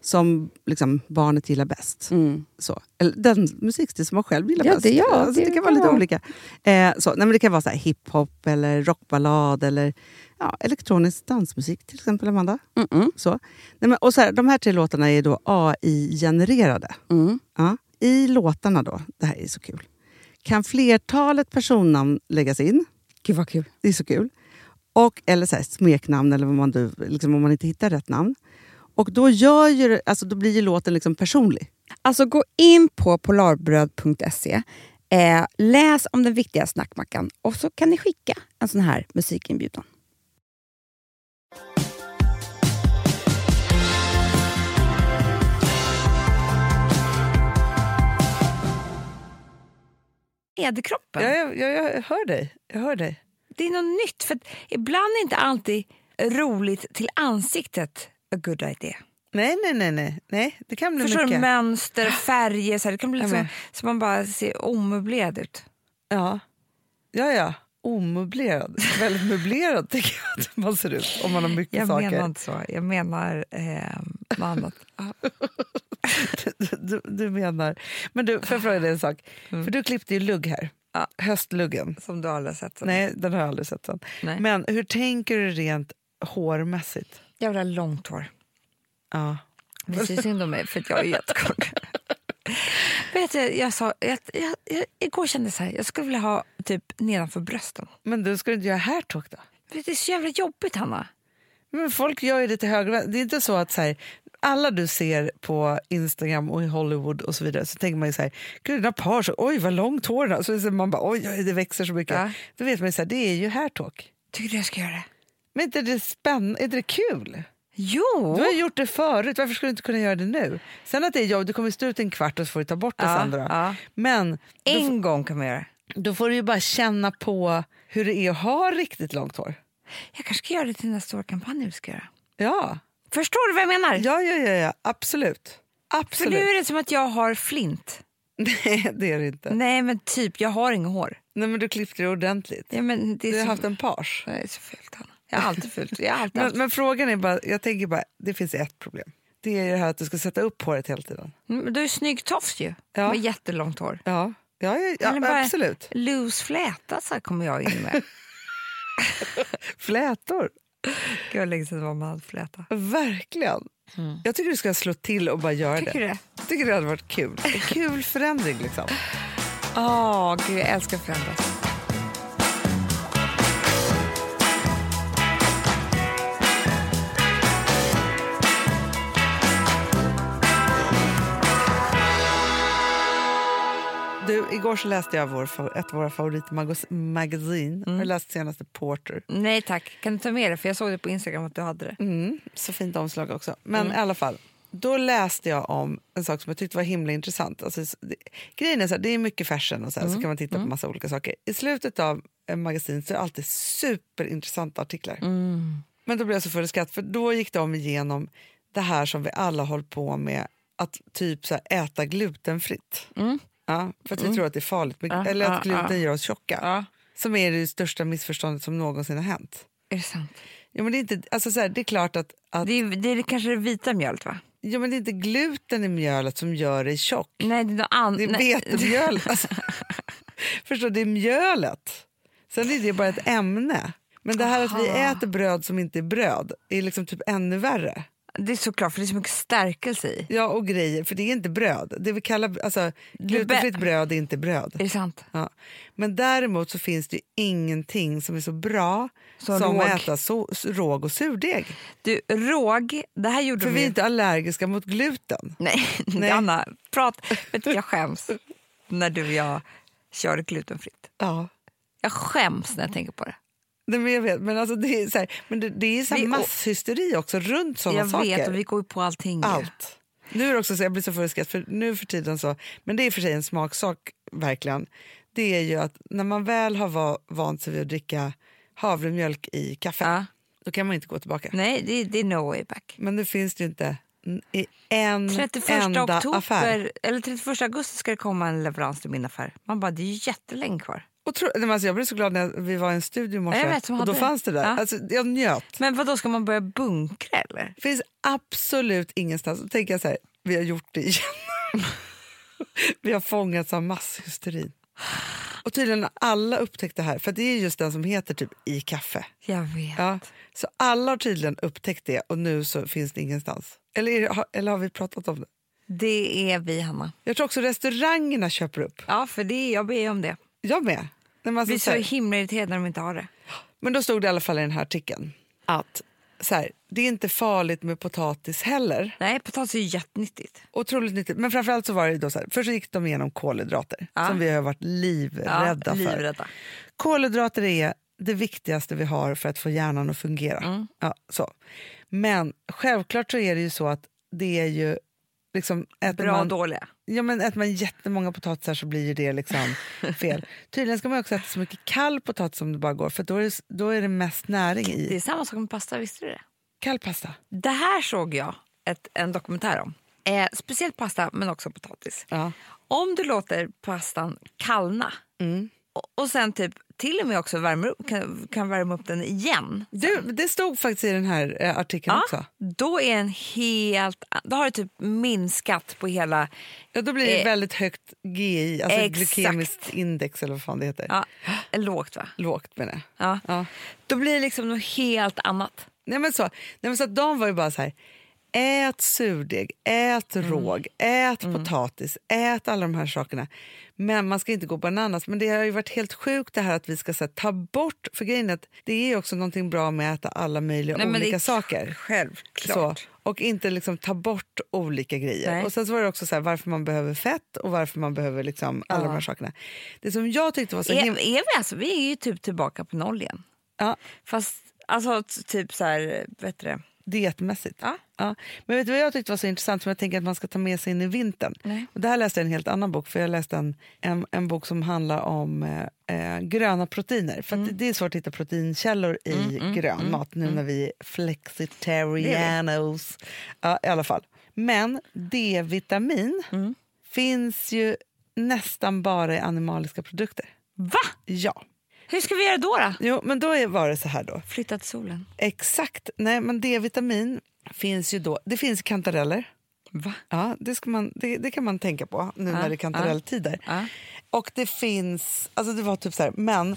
som liksom, barnet gillar bäst.
Mm.
Så. Eller den musikstil som man själv gillar
Ja,
bäst.
det- ja,
alltså, det,
det
kan vara
kan
lite
vara.
olika. Eh, så. Nej, men det kan vara så här hiphop, eller rockballad eller ja, elektronisk dansmusik till exempel, Amanda.
Mm-mm.
Så. Nej, men, och så här, de här tre låtarna är då AI-genererade.
Mm.
Ja. I låtarna då, det här är så kul, kan flertalet personnamn läggas in.
Gud vad kul.
Det är så kul. Och, eller så här, smeknamn, eller vad man, nu- liksom, om man inte hittar rätt namn. Och då, gör ju, det- alltså, då blir ju låten liksom personlig.
Alltså gå in på polarbröd.se, eh, läs om den viktiga snackmackan och så kan ni skicka en sån här musikinbjudan.
Äderkroppen.
jag, jag hör dig. Jag hör dig.
Det är något nytt. För att ibland är inte alltid roligt till ansiktet a good idea.
Nej, nej, nej. nej. nej det kan bli
Förstår du? Mönster, färger. Så här, det kan bli
Jag
liksom,
med.
så man bara ser omöblerad ut.
Ja. ja, ja. Omöblerad. Väldigt möblerad tycker jag att man ser ut om man har mycket
Jag menar inte så. Jag menar eh, något annat. Ja.
Du, du menar... Men du, får jag fråga dig en sak? För du klippte ju lugg här.
Mm. Ja.
Höstluggen.
Som du aldrig har sett.
Nej, den har jag aldrig sett sen.
Nej.
Men hur tänker du rent hårmässigt?
Jag vill ha långt hår.
Ja.
Det syns synd om mig för att jag är jättekort. Vet du, jag sa, jag, jag, jag, igår kände jag så här, jag skulle vilja ha typ nedanför brösten.
Men du ska du inte göra hairtalk då?
Vet du, Det är så jävla jobbigt, Hanna.
Men folk gör ju det till höger och vänster. Det är inte så att så här, alla du ser på Instagram och i Hollywood och så vidare så tänker man ju så här, gud den har par så, oj vad långt hår den har." Så det är så- man bara, oj, oj det växer så mycket.
Ja.
Då vet man ju så här, det är ju hairtalk.
Tycker du jag ska göra det?
Men inte det spännande, är inte det kul?
Jo!
Du har ju gjort det förut, varför skulle du inte kunna göra det nu? Sen att det är jobb, du kommer stå ut en kvart och så får du ta bort det
Ja,
sen då.
ja.
Men
en gång kan man göra det.
då får du ju bara känna på hur det är att ha riktigt långt hår.
Jag kanske ska göra det till nästa årskampanj vi ska göra.
Ja,
Förstår du vad jag menar?
ja, ja, ja, ja. absolut.
För
Absolut.
nu är det som att jag har flint.
Nej, det är det inte.
Nej men typ, jag har inget hår.
Nej, men du klippte det ordentligt.
Ja, men det är
Du har
så,
haft en page.
Nej, det är så fult Hanna. Jag har alltid fult. Jag har alltid
Men,
haft.
men frågan är bara, jag tänker bara, det finns ett problem. Det är ju det här att du ska sätta upp håret hela tiden.
Men Mm, du är ju snygg tofs ju.
Ja.
Med jättelångt hår.
Ja, ja, ja, ja
Eller bara-
absolut.
Loose fläta så här kommer jag in med.
Flätor,
Gud vad länge sedan det var man hade fläta.
verkligen. Jag tycker du ska slå till och bara göra
Mm. Tycker
det.
du det?
Jag tycker det hade varit kul. En kul förändring liksom.
Åh, gud jag älskar att förändras.
Du, igår så läste jag vår, fa- ett av våra favoritmagasin.
Mm.
Jag läste senaste Porter.
Nej tack, kan du ta med det? För jag såg det på Instagram att du hade det.
Mm, så fint omslag också. Men i alla fall, då läste jag om en sak som jag tyckte var himla intressant. Alltså, s- det, grejen är så här, det är mycket fashion och så, här, så kan man titta på massa olika saker. I slutet av en magasin så är det alltid superintressanta artiklar. Men då blev jag så full i skratt, för då gick de igenom det här som vi alla håller på med, att typ så här, äta glutenfritt. Ja, för att vi tror att det är farligt, med,
Ja,
eller att
ja, ja.
gluten gör oss tjocka.
Ja.
Som är det största missförståndet som någonsin har hänt.
Är det sant?
Ja, men det, är inte, alltså så här, det är klart att, att
Det är, det är kanske det vita mjölet va?
Jo, men det är inte gluten i mjölet som gör dig tjock.
Mm, Nej, det är något annat.
Det är vetemjöl. Alltså. Förstår du? Det är mjölet. Sen är det bara ett ämne. Men det här att vi
Aha.
äter bröd som inte är bröd är liksom typ ännu värre.
Det är såklart, för det är så mycket stärkelse i.
Ja, och grejer. För det är inte bröd. Det vi kallar, alltså,
är
glutenfritt
bä-
bröd är inte
Är
bröd.
det sant?
Ja. Men däremot så finns det ju ingenting som är så bra
Så
som
råg.
att äta so- råg och surdeg.
Du, råg, det här gjorde
För
de
vi är
ju-
inte allergiska mot gluten.
Nej,
Nej.
Anna, prat. Vet du, jag skäms när du och jag kör glutenfritt.
Ja.
Jag skäms när jag tänker på det.
Nej, men jag vet, men, alltså, det, är så här, men det, det är så här
Vi- och-
masshysteri också runt sådana
jag
saker.
vet, och vi går ju på allting. ju.
Allt. Nu är det också så, jag blir så full i skratt, för nu för tiden så, men det är i och för sig en smaksak verkligen. Det är ju att när man väl har va, vant sig vid att dricka havremjölk i kaffe,
Ja.
då kan man inte gå tillbaka.
Nej, det, det är no way back.
Men nu finns det ju inte n- i en
31
enda
oktober,
affär.
eller 31 augusti ska det komma en leverans till min affär. Man bara, det är ju jättelänge kvar.
Och tro, nej, men alltså jag blev så glad när vi var i en studio i
Ja, jag
morse
vet, som
och då
hade-
fanns det där.
Ja.
Alltså, jag njöt.
Men vad då ska man börja bunkra eller?
finns absolut ingenstans. Då tänker jag så här, vi har gjort det igen. vi har fångats av masshysterin. Och tydligen har alla upptäckt det här, för det är just den som heter typ i kaffe.
Jag vet.
Ja. Så alla har tydligen upptäckt det och nu så finns det ingenstans. Eller, är det- har- eller har vi pratat om det?
Det är vi, Hanna.
Jag tror också restaurangerna köper upp.
Ja, för det är, jag ber ju om det.
Jag med. Nej, men,
Vi
alltså,
är
så
så
här,
himla irriterade när de inte har det.
men då stod det i alla fall i den här artikeln att så här, det är inte farligt med potatis heller.
Nej, potatis är ju jättenyttigt.
Otroligt nyttigt. Men framförallt så var det då så här, först så gick de igenom kolhydrater
Ja.
som vi har varit livrädda för.
livrädda.
Kolhydrater är det viktigaste vi har för att få hjärnan att fungera.
Mm.
Ja, så. Men självklart så är det ju så att det är ju liksom äter
Bra och
man,
dåliga.
ja, men äter man jättemånga potatisar så blir ju det liksom fel. Tydligen ska man också äta så mycket kall potatis som det bara går för då är det, då är det mest näring
Det
i.
är samma sak med pasta, visste du det?
Kall pasta.
Det här såg jag ett, en dokumentär om. Eh, speciellt pasta, men också potatis.
Ja.
Om du låter pastan kallna och, och sen typ till och med också värmer upp, kan, kan värma upp den igen.
Du, det stod faktiskt i den här eh, artikeln också.
Då är en helt... Då har det typ minskat på hela...
Ja, då blir det
Eh,
väldigt högt GI, alltså
exakt.
glykemiskt index eller vad fan det heter.
Ja, lågt va?
Lågt menar jag.
Ja.
Ja.
Då blir det liksom något helt annat.
Nej, men så. Nej, men så att de var ju bara så här, ät surdeg, ät
Mm.
råg, ät potatis, ät alla de här sakerna. Men man ska inte gå bananas. Men det har ju varit helt sjukt det här att vi ska så här, ta bort, för grejen är att det är ju också någonting bra med att äta alla möjliga
Nej, men det
olika
är
saker. Så,
Självklart.
och inte liksom ta bort olika grejer.
Nej.
Och Sen så var det också så här, varför man behöver fett och varför man behöver liksom alla de här sakerna. Det som jag tyckte var så
Är,
himla...
är vi, alltså, vi är ju typ tillbaka på noll igen.
Ja,
Fast alltså t- typ så här, vad heter det?
dietmässigt.
Ja.
Ja. Men vet du vad jag tyckte var så intressant som jag tänker att man ska ta med sig in i vintern?
Nej.
Och det här läste jag i en helt annan bok, för jag läste en, en, en bok som handlar om eh, eh, gröna proteiner. För
Mm.
att det är svårt att hitta proteinkällor i grön mat nu när vi är flexitarianos. Ja, i alla fall. Men D-vitamin
Mm.
finns ju nästan bara i animaliska produkter.
Va?
Ja.
Hur ska vi göra då? då?
Jo, men då är- var det så här då.
Flytta till solen.
Exakt. Nej, men D-vitamin finns ju då. Det finns i kantareller.
Va?
Ja, det, ska man, det, det kan man tänka på nu när det är kantarelltider.
ja.
Och det finns, alltså det var typ så här, men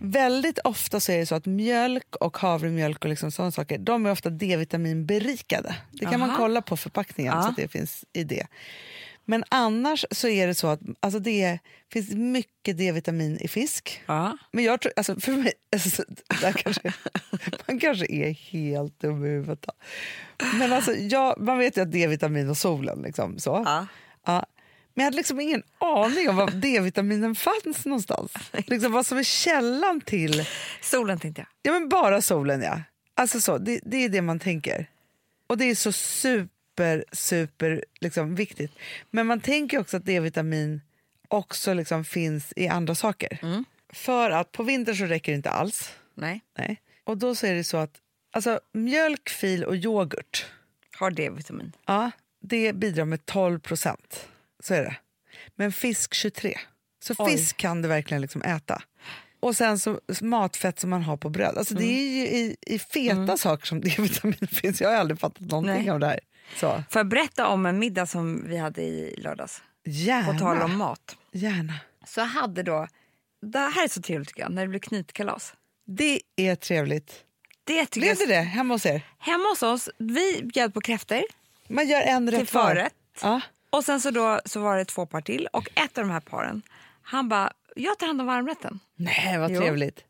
väldigt ofta så är det så att mjölk och havremjölk och liksom sådana saker, de är ofta D-vitaminberikade. Det kan man
Aha.
kolla på förpackningen så att det finns i det. Men annars så är det så att alltså det är- finns mycket D-vitamin i fisk.
Ja.
Men jag tror, alltså för mig, alltså, det där kanske, man kanske är helt dum i huvudet. då. Men alltså, jag, man vet ju att D-vitamin och solen liksom så.
Ja.
Ja. Men jag hade liksom ingen aning om var D-vitaminen fanns någonstans. Liksom vad som är källan till,
Solen tänkte jag.
ja men bara solen ja. Alltså så, det, det är det man tänker. Och det är så super, super liksom, viktigt. Men man tänker ju också att D-vitamin också liksom finns i andra saker. För att på vintern så räcker det inte alls.
Nej.
Nej. Och då så är det så att alltså, mjölk, fil och yoghurt
Har D-vitamin.
ja, det bidrar med 12 procent. Så är det. Men fisk 23. Så
Oj.
fisk kan du verkligen liksom äta. Och sen så matfett som man har
Mm.
på bröd. Alltså Det är ju i, i feta saker som D-vitamin finns. Jag har aldrig fattat någonting
Nej.
av det här. Så.
Får jag berätta om en middag som vi hade i lördags? På tal
Gärna.
om mat.
Gärna.
Så jag hade då... Det här är så trevligt tycker jag, när det blir knytkalas.
Det är trevligt.
Det tycker
Blev
jag,
det det hemma hos er?
Hemma hos oss, vi bjöd på kräftor
Man gör en rätt
till förrätt.
Ja.
Och sen så, då, så var det två par till och ett av de här paren, han bara, jag tar hand om varmrätten.
Nej, vad
Jo.
trevligt.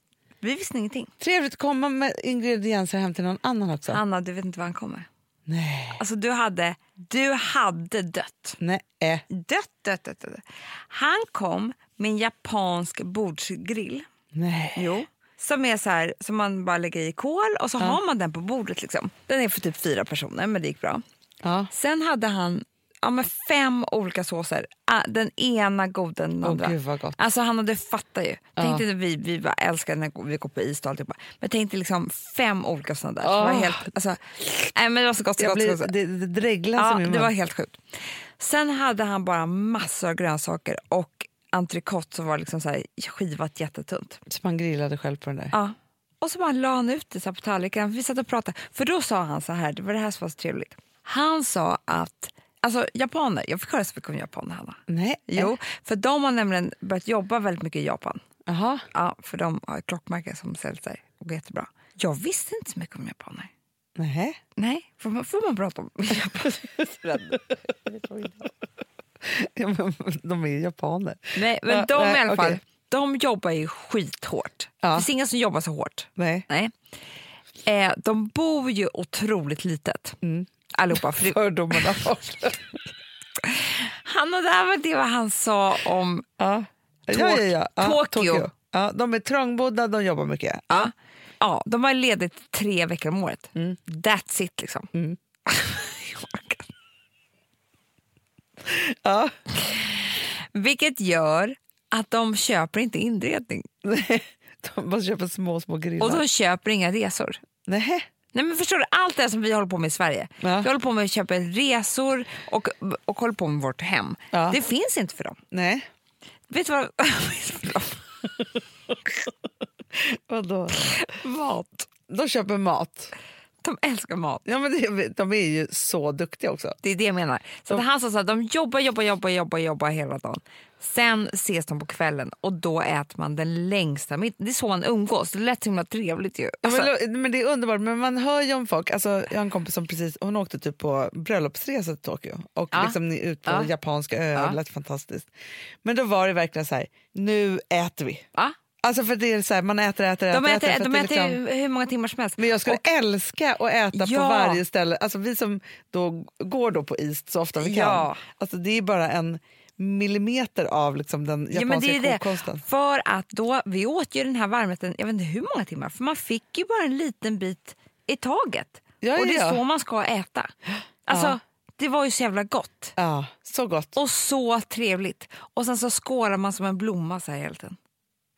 Vi visste ingenting.
Trevligt att komma med ingredienser hem till någon annan också.
Anna, du vet inte var han kommer.
Nej.
Alltså du hade, du hade dött.
Nej. äh.
Dött, dött, dött, dött. Han kom med en japansk bordsgrill.
Nej.
Jo. Som är så här, som man bara lägger i kol och så har man den på bordet. liksom. Den är för typ fyra personer, men det gick bra.
Ja.
Sen hade han ja, men fem olika såser. Ah, Den ena godare än den
Åh,
andra.
gud, vad gott.
Alltså han hade fattat ju. Tänkte att vi, vi bara älskar när vi går på is och alltihopa. Men tänkte liksom fem olika sådana där. Så det var
Åh.
helt, alltså, nej, men det var så gott, så
Jag
gott, så
blir,
gott. så gott.
det, det dreglas i
Ja,
min
det var
mun.
helt sjukt. Sen hade han bara massor av grönsaker och entrecote som var liksom så här skivat jättetunt.
Så man grillade själv på den där.
Ja. Och så bara la han ut det så här på tallriken. Vi satt och pratade. För då sa han så här, det var det här som var så trevligt. Han sa att, alltså japaner, jag fick höra så mycket om japaner Hanna.
Nej.
Jo, för de har nämligen börjat jobba väldigt mycket i Japan.
Jaha.
Ja, för de har ett klockmärke som säljs där och går jättebra. Jag visste inte så mycket om japaner.
Nej.
Nej, får man, får man prata om japaner?
Ja, men De är ju japaner.
Nej, men
Ja,
de
nej,
i alla fall,
okej.
de jobbar ju skithårt. Det finns ingen som jobbar så hårt.
Nej.
Nej. Eh, de bor ju otroligt litet. Allihopa. För det,
Fördomarna
han och det här var det vad han sa om...
ja. Ja,
Tok-
ja, ja. Ja,
Tokyo.
Ja, de är trångbodda, de jobbar mycket.
Ja, ja, de har ledigt tre veckor om året.
Mm.
That's it liksom. Jag orkar.
Ja.
Vilket gör att de köper inte inredning.
Nej, De bara köper små, små grillar.
Och de köper inga resor.
Nej.
Nej men förstår du, allt det här som vi håller på med i Sverige.
Ja.
Vi håller på med att köpa resor och, och håller på med vårt hem.
Ja.
Det finns inte för dem.
Nej.
Vet du vad?
Vadå?
mat.
De köper mat.
De älskar mat.
Ja, men det, de är ju så duktiga också.
Det är det jag menar. Så att han sa så här, de jobbar, jobbar, jobbar, jobbar, jobbar hela dagen. Sen ses de på kvällen och då äter man den längsta middagen. Det är så man umgås. Det lät så himla trevligt ju.
Ja,
Alltså,
men, lo- men Det är underbart, men man hör ju om folk. Alltså, jag har en kompis som precis, hon åkte typ på bröllopsresa till Tokyo och
Ja.
liksom ni- ut på
Ja.
japanska öar.
Ja.
Det lät fantastiskt. Men då var det verkligen så här, nu äter vi.
ja.
Alltså för det är så här, man äter, äter, äter.
De äter,
för att
de
det är
äter
liksom-
hur många timmar som helst.
Men jag skulle älska att äta på
Ja.
varje ställe. Alltså vi som då går då på East så ofta vi
Ja.
kan. Alltså det är bara en millimeter av liksom den japanska
Ja, men det är det.
kokkonsten.
För att då, vi åt ju den här varmrätten, jag vet inte hur många timmar, för man fick ju bara en liten bit i taget.
Ja,
och det är
ja.
så man ska äta. Alltså, det var ju så jävla gott.
Ja, så gott.
Och så trevligt. Och sen så skålar man som en blomma så här hela tiden.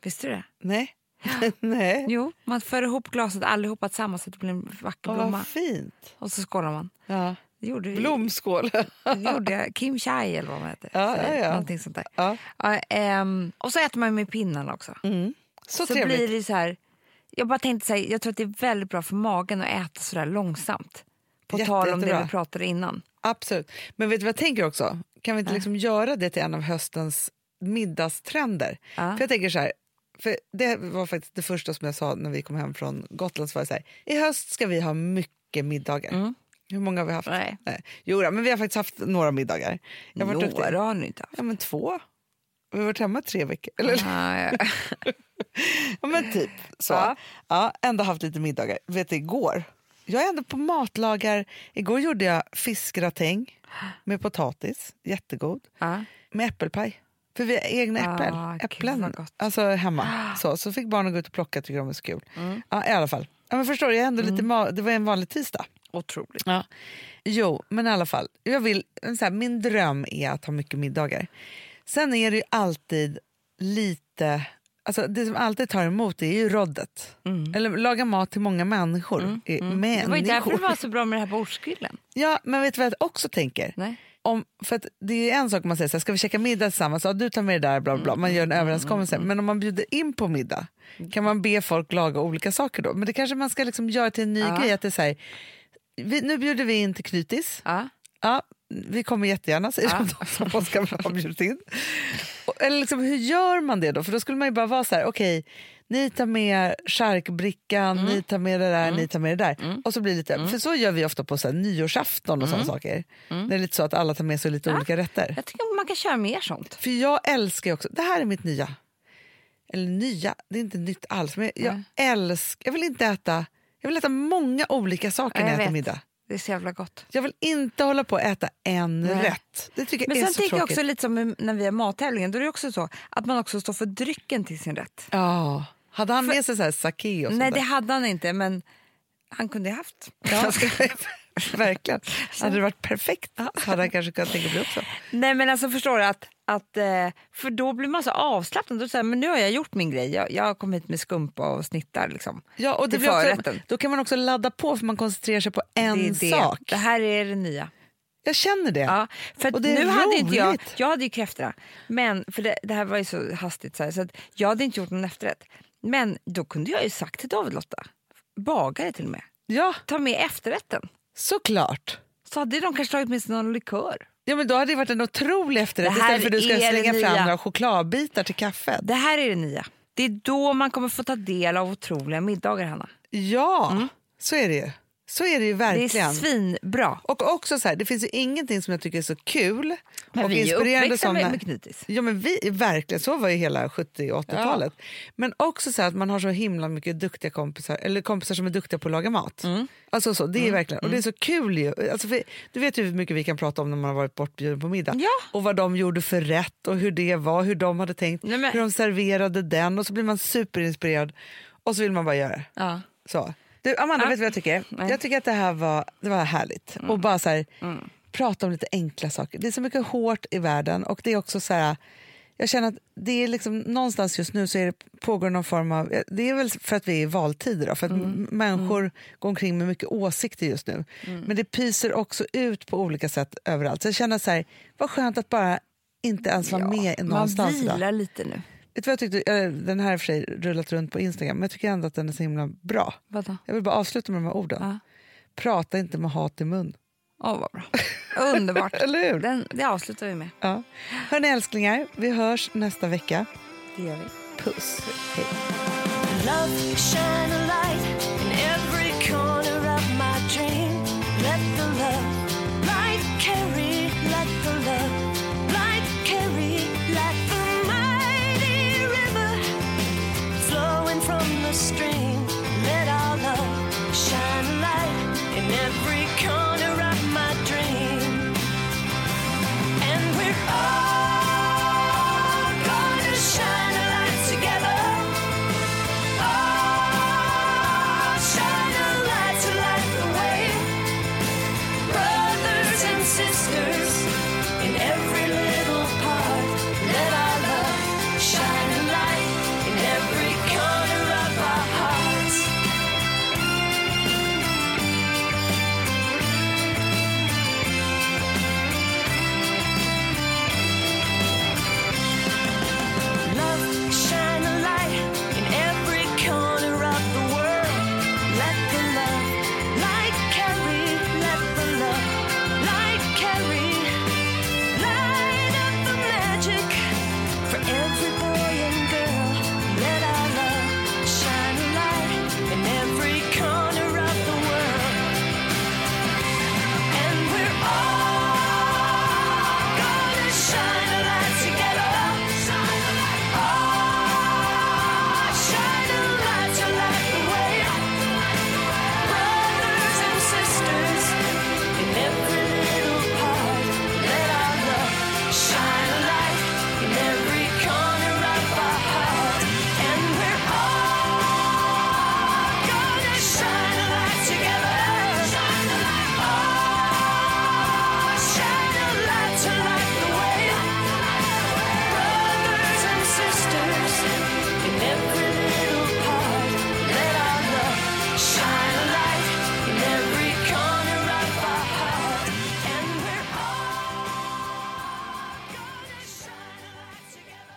Visste du det?
Nej. Nej.
Jo, man för ihop glaset allihopa tillsammans så att det blir en vacker
Åh,
blomma.
vad fint.
Och så skålar man.
Ja.
Det gjorde,
Blomskål.
det gjorde jag. Kim Chai eller vad man heter.
Ja, ja, ja.
Någonting sånt där.
Ja.
Ja, ehm, och så äter man med pinnarna också.
Mm. Så,
så
trevligt.
blir det så här, jag bara tänkte så här, jag tror att det är väldigt bra för magen att äta så där långsamt. På
Jätte,
tal om det
jättebra.
vi pratade innan.
Absolut. Men vet du vad jag tänker också? Kan vi inte liksom göra det till en av höstens middagstrender?
Ja.
För jag tänker så här, för det var faktiskt det första som jag sa när vi kom hem från Gotland. Så var det så här, I höst ska vi ha mycket middagar. Hur många har vi haft?
Mm. Nej.
Jo, då, men vi har faktiskt haft några middagar. Jag har varit duktig.
Några har ni inte haft.
Ja, men två. Vi har varit hemma tre veckor. Eller,
Nej.
ja, men typ så.
Ja.
Ja. ändå haft lite middagar. Vet du, igår. Jag är ändå på matlagar. Igår gjorde jag fiskgratäng med potatis. Jättegod.
Ja.
med äppelpaj. För vi har egna äppel,
Ah, gud,
äpplen
vad gott.
alltså hemma. Så, så fick barnen gå ut och plocka, tycker de är så kul.
Mm.
Ja, i alla fall. Ja, men förstår du, jag är ändå lite ma- det var en vanlig tisdag.
Otroligt.
Ja. Jo, men i alla fall. Jag vill, en så här, min dröm är att ha mycket middagar. Sen är det ju alltid lite... Alltså det som alltid tar emot är ju roddet. Eller laga mat till många människor. Eh, människor.
Mm. Det var ju därför det var så bra med det här på ortsgrillen.
Ja, men vet du vad jag också tänker?
Nej.
Om, för att det är en sak om man säger så här, ska vi käka middag tillsammans? Ja, du tar med det där, bla bla, bla. Man gör en överenskommelse. Men om man bjuder in på middag, kan man be folk laga olika saker då? Men det kanske man ska liksom göra till en ny grej. Att det är så här, Vi, nu bjuder vi in till Knytis.
Ja.
Ja, vi kommer jättegärna, säger
Ja.
de som Oskar har bjudit in. Och- Eller liksom, hur gör man det då? För då skulle man ju bara vara så här, okej, ni tar med charkbrickan,
Mm.
ni tar med det där, ni tar med det där. Och så blir det lite, För så gör vi ofta på så här, nyårsafton och
Mm.
sådana saker. Det är lite så att alla tar med sig lite olika rätter.
Jag tycker man kan köra mer sånt.
För jag älskar ju också, det här är mitt nya, eller nya, det är inte nytt alls, men jag älskar, jag vill inte äta, jag vill äta många olika saker
Ja,
när
jag
jag äter
vet.
middag.
Det är så jävla gott.
Jag vill inte hålla på att äta en
Nej.
rätt. Det tycker jag
Men
är
sen
så
tänker jag
tråkigt.
också lite som med- när vi har mattävlingen, då är det också så att man också står för drycken till sin rätt.
Ja. Hade han med sig så här sake och sånt
Nej, det
där?
hade han inte, men han kunde ha haft.
Ja. Alltså, Verkligen. Hade det varit perfekt så hade han kanske kunnat tänka bli också.
Nej, men alltså förstår du att, att eh, för då blir man så avslappnad. Då säger men nu har jag gjort min grej. Jag, jag kom hit med skumpa och snittar liksom.
Ja, och det
Till
blir också,
förrätten.
då kan man också ladda på för man koncentrerar sig på en
det är det.
sak.
Det här är det nya.
Jag känner det.
Ja, för
Och
att
det är
nu hade inte jag,
roligt.
jag hade ju kräftorna, men för det, det här var ju så hastigt så, här, så att jag hade inte gjort någon efterrätt. Men då kunde jag ju sagt till David Lotta, bagare till och med,
Ja,
ta med efterrätten.
såklart.
Så hade de kanske tagit med sig någon likör.
Ja, men då hade det varit en otrolig efterrätt
Det här
istället för att du ska
är det
slänga fram
nya.
några chokladbitar till kaffet.
Det här är det nya. Det är då man kommer få ta del av otroliga middagar, Hanna.
Ja, så är det ju. Så är det ju verkligen.
Mm. Det är svinbra.
Och också så här, det finns ju ingenting som jag tycker är så kul
Men
och
vi är ju
inspirerande
uppväxta
som...
med,
när-
med knytis.
Ja, men vi, verkligen, så var ju hela 70 och 80-talet. Men också så här att man har så himla mycket duktiga kompisar, eller kompisar som är duktiga på att laga mat.
Mm.
Alltså så, det är verkligen, och det är så kul ju. Alltså för, du vet ju hur mycket vi kan prata om när man har varit bortbjuden på middag.
Ja.
Och vad de gjorde för rätt och hur det var, hur de hade tänkt,
Nej, men-
hur de serverade den och så blir man superinspirerad och så vill man bara göra det.
Ja.
Så. Du, Amanda,
Ja.
vet du vad jag tycker?
Nej. Mm.
Jag tycker att det här var, det var härligt. Och bara så här, prata om lite enkla saker. Det är så mycket hårt i världen och det är också så här, jag känner att det är liksom, någonstans just nu så är det, pågår någon form av, det är väl för att vi är i valtider då, för att
Mm.
m- människor går omkring med mycket åsikter just nu.
Mm.
Men det pyser också ut på olika sätt överallt. Så jag känner så här, vad skönt att bara inte ens vara med
Man
någonstans idag.
vilar lite nu.
Vet du vad jag tyckte? Eh, Den här har i och för sig rullat runt på Instagram, men jag tycker ändå att den är så himla bra.
Vadå?
Jag vill bara avsluta med de här orden.
Ja.
Prata inte med hat i mun.
Åh, vad bra. Underbart.
Eller hur?
Den, det avslutar vi med.
Ja. Hörni älsklingar, vi hörs nästa vecka.
Det gör vi.
Puss. Hej.
Love, shine a light in every corner of my dream. Let the love light carry, let the love light carry, let the mighty river flowing from the stream. Let our love shine a light in every corner of my dream. And we're all gonna shine a light together. Let the love light carry, let the love light carry. Light up the magic for every boy and girl. Let our love shine a light in every corner of the world. And we're all gonna shine a light together. Shine a light. Oh, shine a light to light the way. Brothers and sisters in every little part. Let our love shine a light in every corner of our heart. And we're all gonna shine a light together. Shine a light. Oh, shine a light to light the way. Brothers and sisters in every little part. Let our love shine a light in every corner of our heart. And we're all gonna shine a light together.